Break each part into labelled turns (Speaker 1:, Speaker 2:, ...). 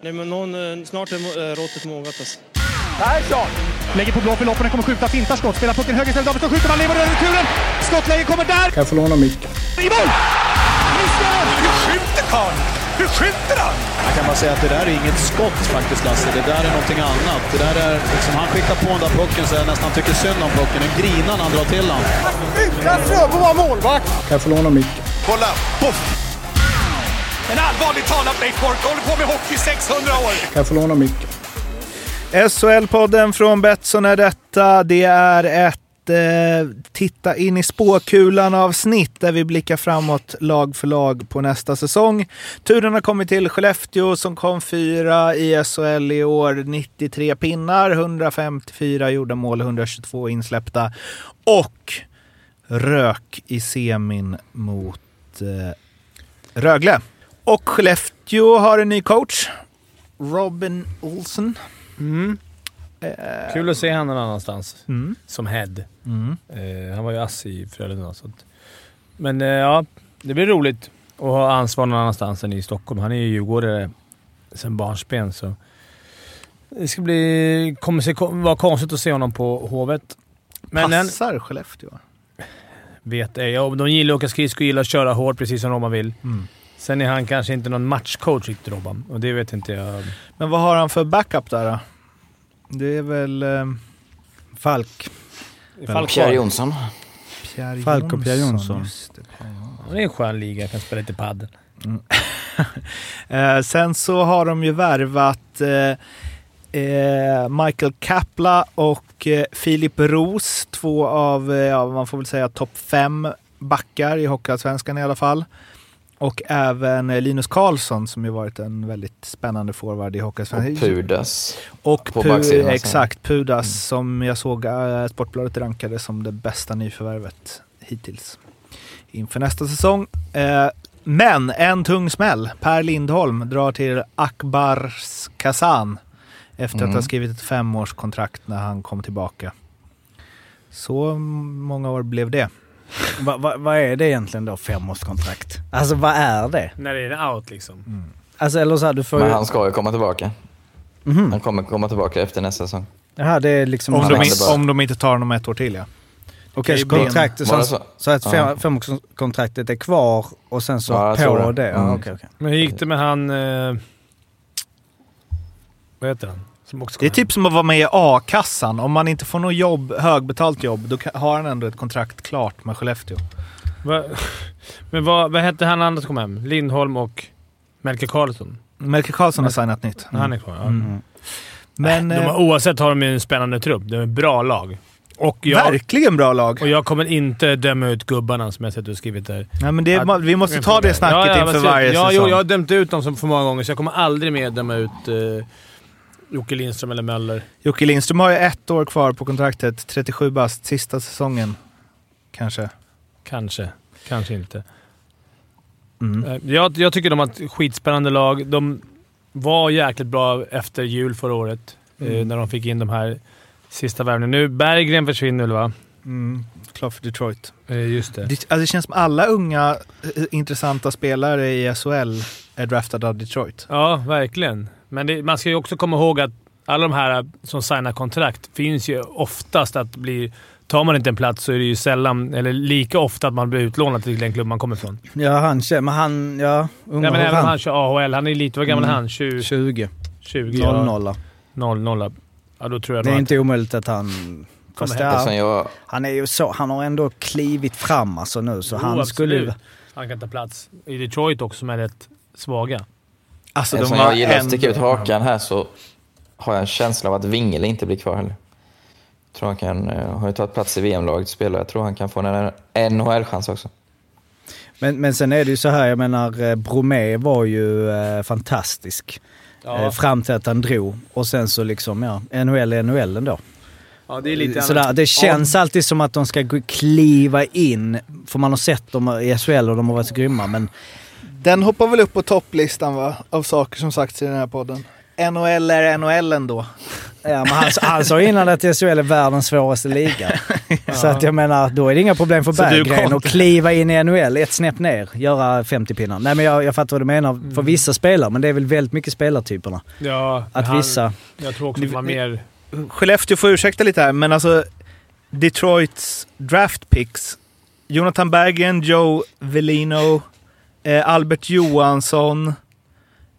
Speaker 1: Nej, men någon, eh, snart är eh, råttet mogat alltså.
Speaker 2: Persson!
Speaker 3: Lägger på blå för loppen, kommer skjuta, fintar skott, spelar pucken höger istället, Davidsson skjuter, man lever över returen! Skottläge kommer där!
Speaker 4: Kan jag få låna micken?
Speaker 3: I mål! Missar!
Speaker 2: Hur skjuter karln? Hur skjuter han?
Speaker 5: Jag kan bara säga att det där är inget skott faktiskt, Lasse. Det där är någonting annat. Det där är, liksom, han skickar på den där pucken så jag nästan tycker synd om pucken. Den grinar när han drar till den.
Speaker 2: Utan Fröbo var målvakt.
Speaker 4: Kan jag få låna micken?
Speaker 2: Kolla! Poff! En allvarligt talat Leif Boork håller på med hockey i 600 år.
Speaker 6: Eh,
Speaker 4: Kan jag få låna micken?
Speaker 7: SHL-podden från Betsson är detta. Det är ett eh, titta in i spåkulan-avsnitt där vi blickar framåt lag för lag på nästa säsong. Turen har kommit till Skellefteå som kom fyra i SHL i år. 93 pinnar, 154 gjorda mål, 122 insläppta och rök i semin mot eh, Rögle. Och Skellefteå har en ny coach. Robin Olsen.
Speaker 6: Eh. Kul att se honom någon annanstans.
Speaker 7: Mm.
Speaker 6: Som head.
Speaker 7: Mm.
Speaker 6: Eh, han var ju ass i Frölunda. Så att. Men eh, ja, det blir roligt att ha ansvar någon annanstans än i Stockholm. Han är ju djurgårdare sedan barnsben, så det ska bli, kommer se, vara konstigt att se honom på Hovet. Men en,
Speaker 7: Passar Skellefteå?
Speaker 6: vet ej. Ja, de gillar att åka skridskor och gillar att köra hårt, precis som Robban vill.
Speaker 7: Mm.
Speaker 6: Sen är han kanske inte någon matchcoach riktigt, Robban. Och det vet inte jag.
Speaker 7: Men vad har han för backup där då? Det är väl eh, Falk.
Speaker 6: Falk
Speaker 8: Pierre Jonsson.
Speaker 7: Pierre
Speaker 3: Falk och Pierre Jonsson.
Speaker 7: Just det, Pierre Jonsson.
Speaker 6: Det är en skön liga. Kan spela lite padel.
Speaker 7: Eh, sen så har de ju värvat eh, eh, Michael Kapla och eh, Filip Roos. Två av, eh, ja, man får väl säga, topp fem backar i Hockeyallsvenskan i alla fall. Och även eh, Linus Karlsson som ju varit en väldigt spännande forward i
Speaker 8: Och
Speaker 7: Hockeyallsvenskan.
Speaker 8: Pudas.
Speaker 7: Och
Speaker 8: På baksidan,
Speaker 7: Pu-
Speaker 8: alltså.
Speaker 7: exakt, Pudas som jag såg eh, Sportbladet rankade som det bästa nyförvärvet hittills inför nästa säsong. Eh, men en tung smäll. Per Lindholm drar till Akbars Kazan efter att
Speaker 8: Mm.
Speaker 7: ha skrivit ett femårskontrakt när han kom tillbaka. Så många år blev det.
Speaker 3: Va, va, vad är det egentligen då, femårskontrakt? Alltså vad är det?
Speaker 6: När är det out liksom?
Speaker 3: Alltså eller så här, du får
Speaker 8: Men
Speaker 3: ju...
Speaker 8: han ska ju komma tillbaka.
Speaker 3: Mhm.
Speaker 8: Han kommer komma tillbaka efter nästa säsong.
Speaker 3: Jaha, det är liksom...
Speaker 7: Om
Speaker 8: Han
Speaker 7: de,
Speaker 8: hade
Speaker 7: in,
Speaker 8: bara-
Speaker 7: om de inte tar honom ett år till ja.
Speaker 3: Okej, så
Speaker 7: Bara-
Speaker 3: kontraktet...
Speaker 8: bara
Speaker 3: Så,
Speaker 8: så.
Speaker 3: så att
Speaker 8: Ja.
Speaker 3: fem- femårskontraktet är kvar och sen så
Speaker 8: Ja, jag tror
Speaker 3: på
Speaker 8: det.
Speaker 3: det? Ja,
Speaker 8: Mm.
Speaker 3: okej, okej.
Speaker 6: Men hur gick det med han... Eh, vad heter han? Som också
Speaker 7: Det är
Speaker 6: kom hem.
Speaker 7: typ som att vara med i a-kassan. Om man inte får något jobb, högbetalt jobb, då kan- har han ändå ett kontrakt klart med Skellefteå.
Speaker 6: Va, men vad, vad hette han andra som kom hem? Lindholm och Melker Karlsson?
Speaker 7: Melker Karlsson har signat nytt.
Speaker 6: Han är kvar, ja. Äh,
Speaker 7: Mm. Men
Speaker 6: de,
Speaker 7: eh,
Speaker 6: har- oavsett har de ju en spännande trupp. Det är ett bra lag. Och jag,
Speaker 7: verkligen bra lag.
Speaker 6: och jag kommer inte döma ut gubbarna som jag sett du skrivit där.
Speaker 7: Nej, men det, är- vi måste ta det snacket
Speaker 6: Ja, ja,
Speaker 7: inför
Speaker 6: vad
Speaker 7: varje
Speaker 6: trevligt. ja,
Speaker 7: säsong.
Speaker 6: Jo, jag har dömt ut dem så- för många gånger, så jag kommer aldrig mer döma ut eh, Jocke Lindström eller Möller.
Speaker 7: Jocke Lindström har ju ett år kvar på kontraktet. 37 bast, sista säsongen. Kanske.
Speaker 6: Kanske. Kanske inte.
Speaker 7: Mm.
Speaker 6: Eh, Jag, jag tycker de har ett skitspännande lag. De var jäkligt bra efter jul förra året,
Speaker 7: Mm.
Speaker 6: eh, när de fick in de här sista värvningarna. Nu Berggren försvinner väl, va?
Speaker 7: Mm. Klar för Detroit.
Speaker 6: Eh, just det.
Speaker 7: Det, alltså, det känns som alla unga eh, intressanta spelare i SHL är draftade av Detroit.
Speaker 6: Ja, verkligen. Men det, man ska ju också komma ihåg att alla de här som signar kontrakt finns ju oftast att bli... Tar man inte en plats så är det ju sällan, eller lika ofta, att man blir utlånad till den klubb man kommer ifrån.
Speaker 3: Ja, han känner... Men han... Ja, unga
Speaker 6: Nej, men
Speaker 3: har
Speaker 6: även
Speaker 3: han.
Speaker 6: om han kör AHL. Han är lite... Vad gammal är
Speaker 3: Mm.
Speaker 6: han? 20?
Speaker 3: 20.
Speaker 6: 20
Speaker 3: 0
Speaker 6: ja.
Speaker 3: 0
Speaker 6: 0 0 Ja, då tror jag
Speaker 3: Det
Speaker 6: nog
Speaker 3: är
Speaker 6: att...
Speaker 3: inte omöjligt att han... Fast
Speaker 6: hem.
Speaker 3: ja,
Speaker 8: Eftersom jag,
Speaker 3: han är ju så... Han har ändå klivit fram alltså nu, så
Speaker 6: Jo,
Speaker 3: han skulle ju...
Speaker 6: absolut. Han kan ta plats i Detroit också, som är rätt svaga.
Speaker 7: Alltså,
Speaker 8: eftersom
Speaker 7: har
Speaker 8: jag gillar att
Speaker 7: en-
Speaker 8: sticka ut hakan här så har jag en känsla av att Wingel inte blir kvar heller. Jag tror han kan, eh, har ju tagit plats i VM-laget och spelar. Jag tror han kan få en NHL-chans också.
Speaker 3: Men, men sen är det ju så här, jag menar eh, Bromé var ju eh, fantastisk. Eh, fram till att han drog. Och sen så liksom, ja, NHL är NHL ändå.
Speaker 6: ja det
Speaker 3: Eh, Sådär, det känns alltid som att de ska gå- kliva in, för man har sett dem i SHL och de har varit så grymma. Men
Speaker 7: Den hoppar väl upp på topplistan va? Av saker som sagts i den här podden. NHL är NHL ändå. Ja, men han, han sa innan att SHL är världens svåraste liga. Så att jag menar, då är det inga problem för
Speaker 6: Så du
Speaker 7: Berggren
Speaker 6: kom-
Speaker 7: att kliva in i NHL ett snäpp ner, göra 50 pinnar. Nej, men jag, jag fattar vad du menar för vissa spelare, men det är väl väldigt mycket spelartyperna.
Speaker 6: Ja,
Speaker 7: Att
Speaker 6: han-
Speaker 7: vissa...
Speaker 6: Jag tror också att man mer...
Speaker 2: Skellefteå får ursäkta lite här, men alltså Detroits draft picks. Jonathan Berggren, Joe Velino, eh, Albert Johansson, eh,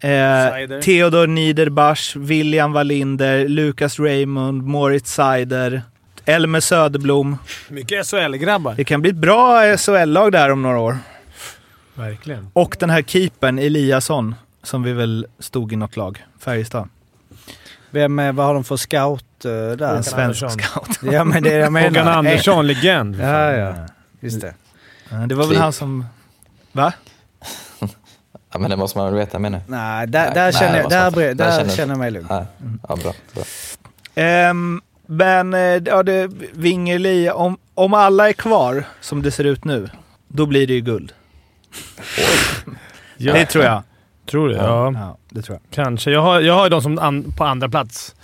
Speaker 6: Seider.
Speaker 2: Theodor Niederbach, William Wallinder, Lucas Raymond, Moritz Seider, Elmer Söderblom.
Speaker 6: Mycket SHL-grabbar.
Speaker 2: Det kan bli ett bra SHL-lag där om några år.
Speaker 6: Verkligen.
Speaker 2: Och den här keepern Eliasson, som vi väl stod i något lag, Färjestad.
Speaker 7: Vem, är- vad har de för scout eh, där?
Speaker 2: En svensk
Speaker 6: Andersson.
Speaker 2: scout.
Speaker 7: Ja, men det är det jag menar.
Speaker 6: Håkan
Speaker 3: Eh.
Speaker 6: Andersson, legend.
Speaker 7: Ja, ja. Just det.
Speaker 2: Det var väl han som... Va?
Speaker 8: Ja, men det måste man väl veta menar jag.
Speaker 7: Nej, där,
Speaker 8: Nej,
Speaker 7: där,
Speaker 8: nej,
Speaker 7: känner,
Speaker 8: det
Speaker 7: jag,
Speaker 8: var
Speaker 7: där,
Speaker 8: sant.
Speaker 7: bre-
Speaker 8: Där
Speaker 7: där
Speaker 8: känner
Speaker 7: känner,
Speaker 8: jag-
Speaker 7: jag mig lugn.
Speaker 8: Nej. Ja, bra, bra.
Speaker 2: Ehm, men eh, ja, det, Wingerli, om, om alla är kvar som det ser ut nu, då blir det ju guld. Det tror jag.
Speaker 6: Tror du? Ja.
Speaker 2: Ja, det tror jag.
Speaker 6: Kanske. Jag har, jag har ju dem som an, på andra plats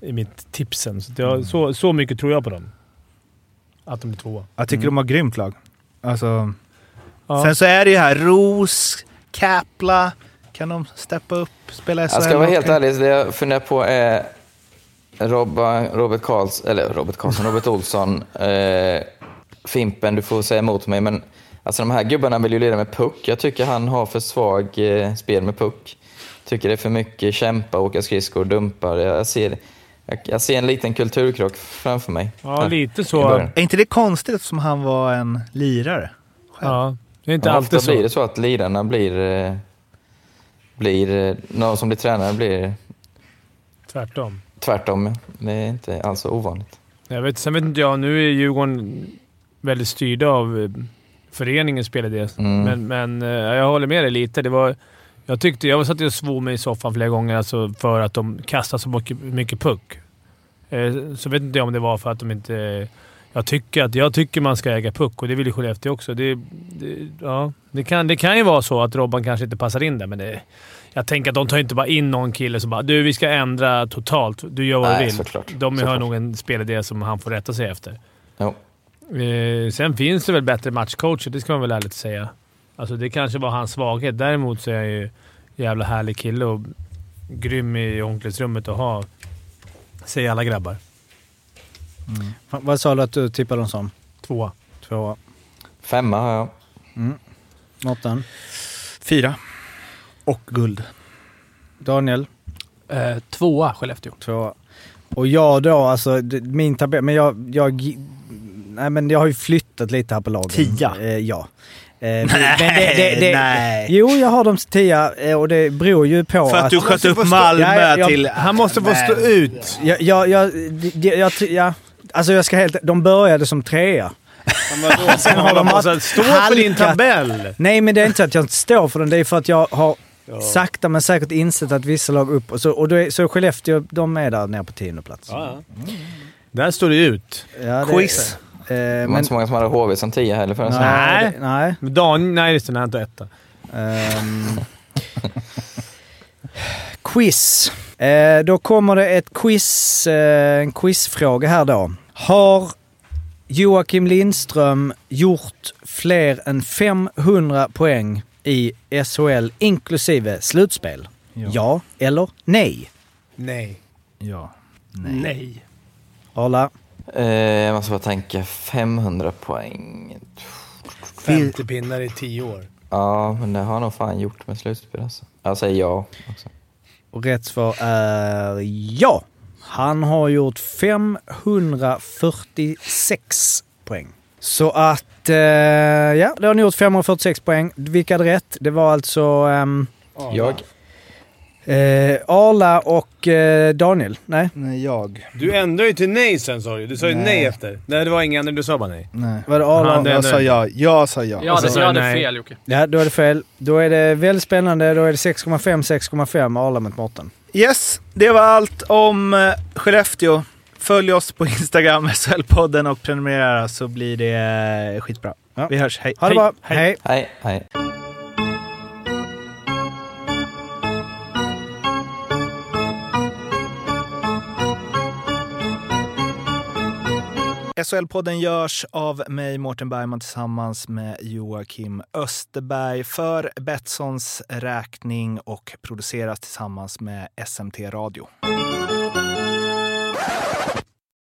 Speaker 6: i mitt tipsen. Så, att jag, så, så mycket tror jag på dem. Att de blir tvåa.
Speaker 2: Jag tycker
Speaker 7: Mm.
Speaker 2: de har grymt lag. Alltså,
Speaker 6: Ja.
Speaker 2: Sen så är det ju här Ros, Käpla. Kan de steppa upp, spela SHL?
Speaker 8: Jag ska vara helt ärlig, så det jag funderar på är Robba, Robert Karls, eller Robert Karlsson, Robert Olsson, eh, Fimpen, du får säga emot mig, men alltså de här gubbarna vill ju leda med puck. Jag tycker han har för svag eh, spel med puck. Tycker det är för mycket kämpa, åka skridskor, dumpar. Jag ser, jag, jag ser en liten kulturkrock framför mig.
Speaker 6: Ja,
Speaker 8: Här,
Speaker 6: lite
Speaker 8: i
Speaker 6: så.
Speaker 8: början.
Speaker 2: Är inte det konstigt som han var en lirare?
Speaker 6: Ja. Det är inte
Speaker 8: Ja, ofta
Speaker 6: alltid
Speaker 8: blir
Speaker 6: så.
Speaker 8: det så att lirarna blir, eh, blir eh, någon som blir tränare blir
Speaker 6: Tvärtom.
Speaker 8: tvärtom. Det är inte alls så ovanligt.
Speaker 6: Jag vet, sen vet inte jag. Nu är Djurgården väldigt styrda av eh, föreningens spelidé.
Speaker 8: Mm.
Speaker 6: Men, men eh, jag håller med dig lite. Det var, jag, tyckte, jag satt ju och svor mig i soffan flera gånger alltså för att de kastade så mycket, mycket puck. Eh, Så vet inte jag om det var för att de inte... eh, Jag tycker, att, jag tycker man ska äga puck och det vill ju Skellefteå också. Det, det, ja, det, kan, det kan ju vara så att Robban kanske inte passar in där, men det, jag tänker att de tar inte bara in någon kille som bara “Du, vi ska ändra totalt. Du gör vad du
Speaker 8: Nej,
Speaker 6: vill”.
Speaker 8: såklart.
Speaker 6: De har
Speaker 8: Såklart.
Speaker 6: nog en spelidé som han får rätta sig efter.
Speaker 8: Jo.
Speaker 6: Eh, sen finns det väl bättre matchcoacher, det ska man väl ärligt säga. Alltså, det kanske var hans svaghet. Däremot så är han ju en jävla härlig kille och grym i omklädningsrummet att ha, säger alla grabbar.
Speaker 7: Fan, Vad sa du att du tippade dem som?
Speaker 6: Tvåa.
Speaker 7: Tvåa?
Speaker 8: Femma har jag.
Speaker 7: Mårten?
Speaker 2: Fyra. Och guld.
Speaker 7: Daniel?
Speaker 9: Eh, tvåa Skellefteå.
Speaker 7: Tvåa. Och jag då, alltså d- min tabell, men jag, jag, nej men jag har ju flyttat lite här på lagen.
Speaker 2: Tia.
Speaker 7: Eh, ja. Eh, men det, det, det, nej. Jo, jag har dem till tia eh, och det beror ju på
Speaker 2: För att du sköt upp
Speaker 7: Ja,
Speaker 2: Malmö
Speaker 7: ja, jag-
Speaker 2: till...
Speaker 6: Han måste få stå ut.
Speaker 7: Jag, jag, jag, det- jag, ty- ja. Alltså jag ska helt... De började som trea.
Speaker 6: Sen
Speaker 7: har de
Speaker 6: alltså, stå för din
Speaker 7: halkat.
Speaker 6: tabell!
Speaker 7: Nej, men det är inte så att jag inte står för den. Det är för att jag har sakta men säkert insett att vissa lag upp... Och så, och då är, så Skellefteå, de är där nere på tionde plats.
Speaker 6: Mm. Där står det ut.
Speaker 7: Ja, det-
Speaker 2: Quiz.
Speaker 7: Eh,
Speaker 8: Det var
Speaker 7: men,
Speaker 8: inte så många som hade HV som tio heller förrän sen.
Speaker 7: nej. det- nej.
Speaker 6: Men Dan, nej, just det. Nej, inte etta.
Speaker 7: Ehm. quiz. Eh, då kommer det ett quiz, eh, en quizfråga här då. Har Joakim Lindström gjort fler än 500 poäng i SHL inklusive slutspel? Ja, eller nej?
Speaker 6: Nej.
Speaker 2: Ja.
Speaker 9: Nej.
Speaker 7: Arla,
Speaker 8: Eh, jag måste bara tänka, 500 poäng.
Speaker 6: 50 pinnar i 10 år.
Speaker 8: Ja, men det har han nog fan gjort med slutspel alltså. Jag säger ja också.
Speaker 7: och rätt svar är ja. Han har gjort 546 poäng. Så att, eh, ja, då har ni gjort 546 poäng. Vilka hade rätt? Det var alltså ehm,
Speaker 8: Jag?
Speaker 7: eh, Arla och eh, Daniel. Nej,
Speaker 2: Nej, jag.
Speaker 6: Du ändrade ju till nej sen sa du. Du sa ju nej, efter. Nej, det var ingen ändring. Du sa bara nej.
Speaker 2: Nej.
Speaker 7: var det Arla?
Speaker 6: Han,
Speaker 7: och-
Speaker 6: det-
Speaker 2: Jag sa ja. Jag sa ja.
Speaker 9: Ja, det,
Speaker 6: så-
Speaker 9: jag hade
Speaker 6: nej.
Speaker 9: fel Jocke.
Speaker 7: Ja, då är det fel. Då är det väldigt spännande. Då är det 6,5, 6,5 Arla mot Mårten.
Speaker 2: Yes, det var allt om eh, Skellefteå. Följ oss på Instagram, SHL-podden och prenumerera så blir det eh, skitbra.
Speaker 7: Ja.
Speaker 2: Vi hörs. Hej.
Speaker 7: Ha det
Speaker 2: Hej.
Speaker 7: bra, hej!
Speaker 8: Hej, hej.
Speaker 7: SHL-podden görs av mig, Mårten Bergman, tillsammans med Joakim Österberg för Betssons räkning och produceras tillsammans med SMT Radio.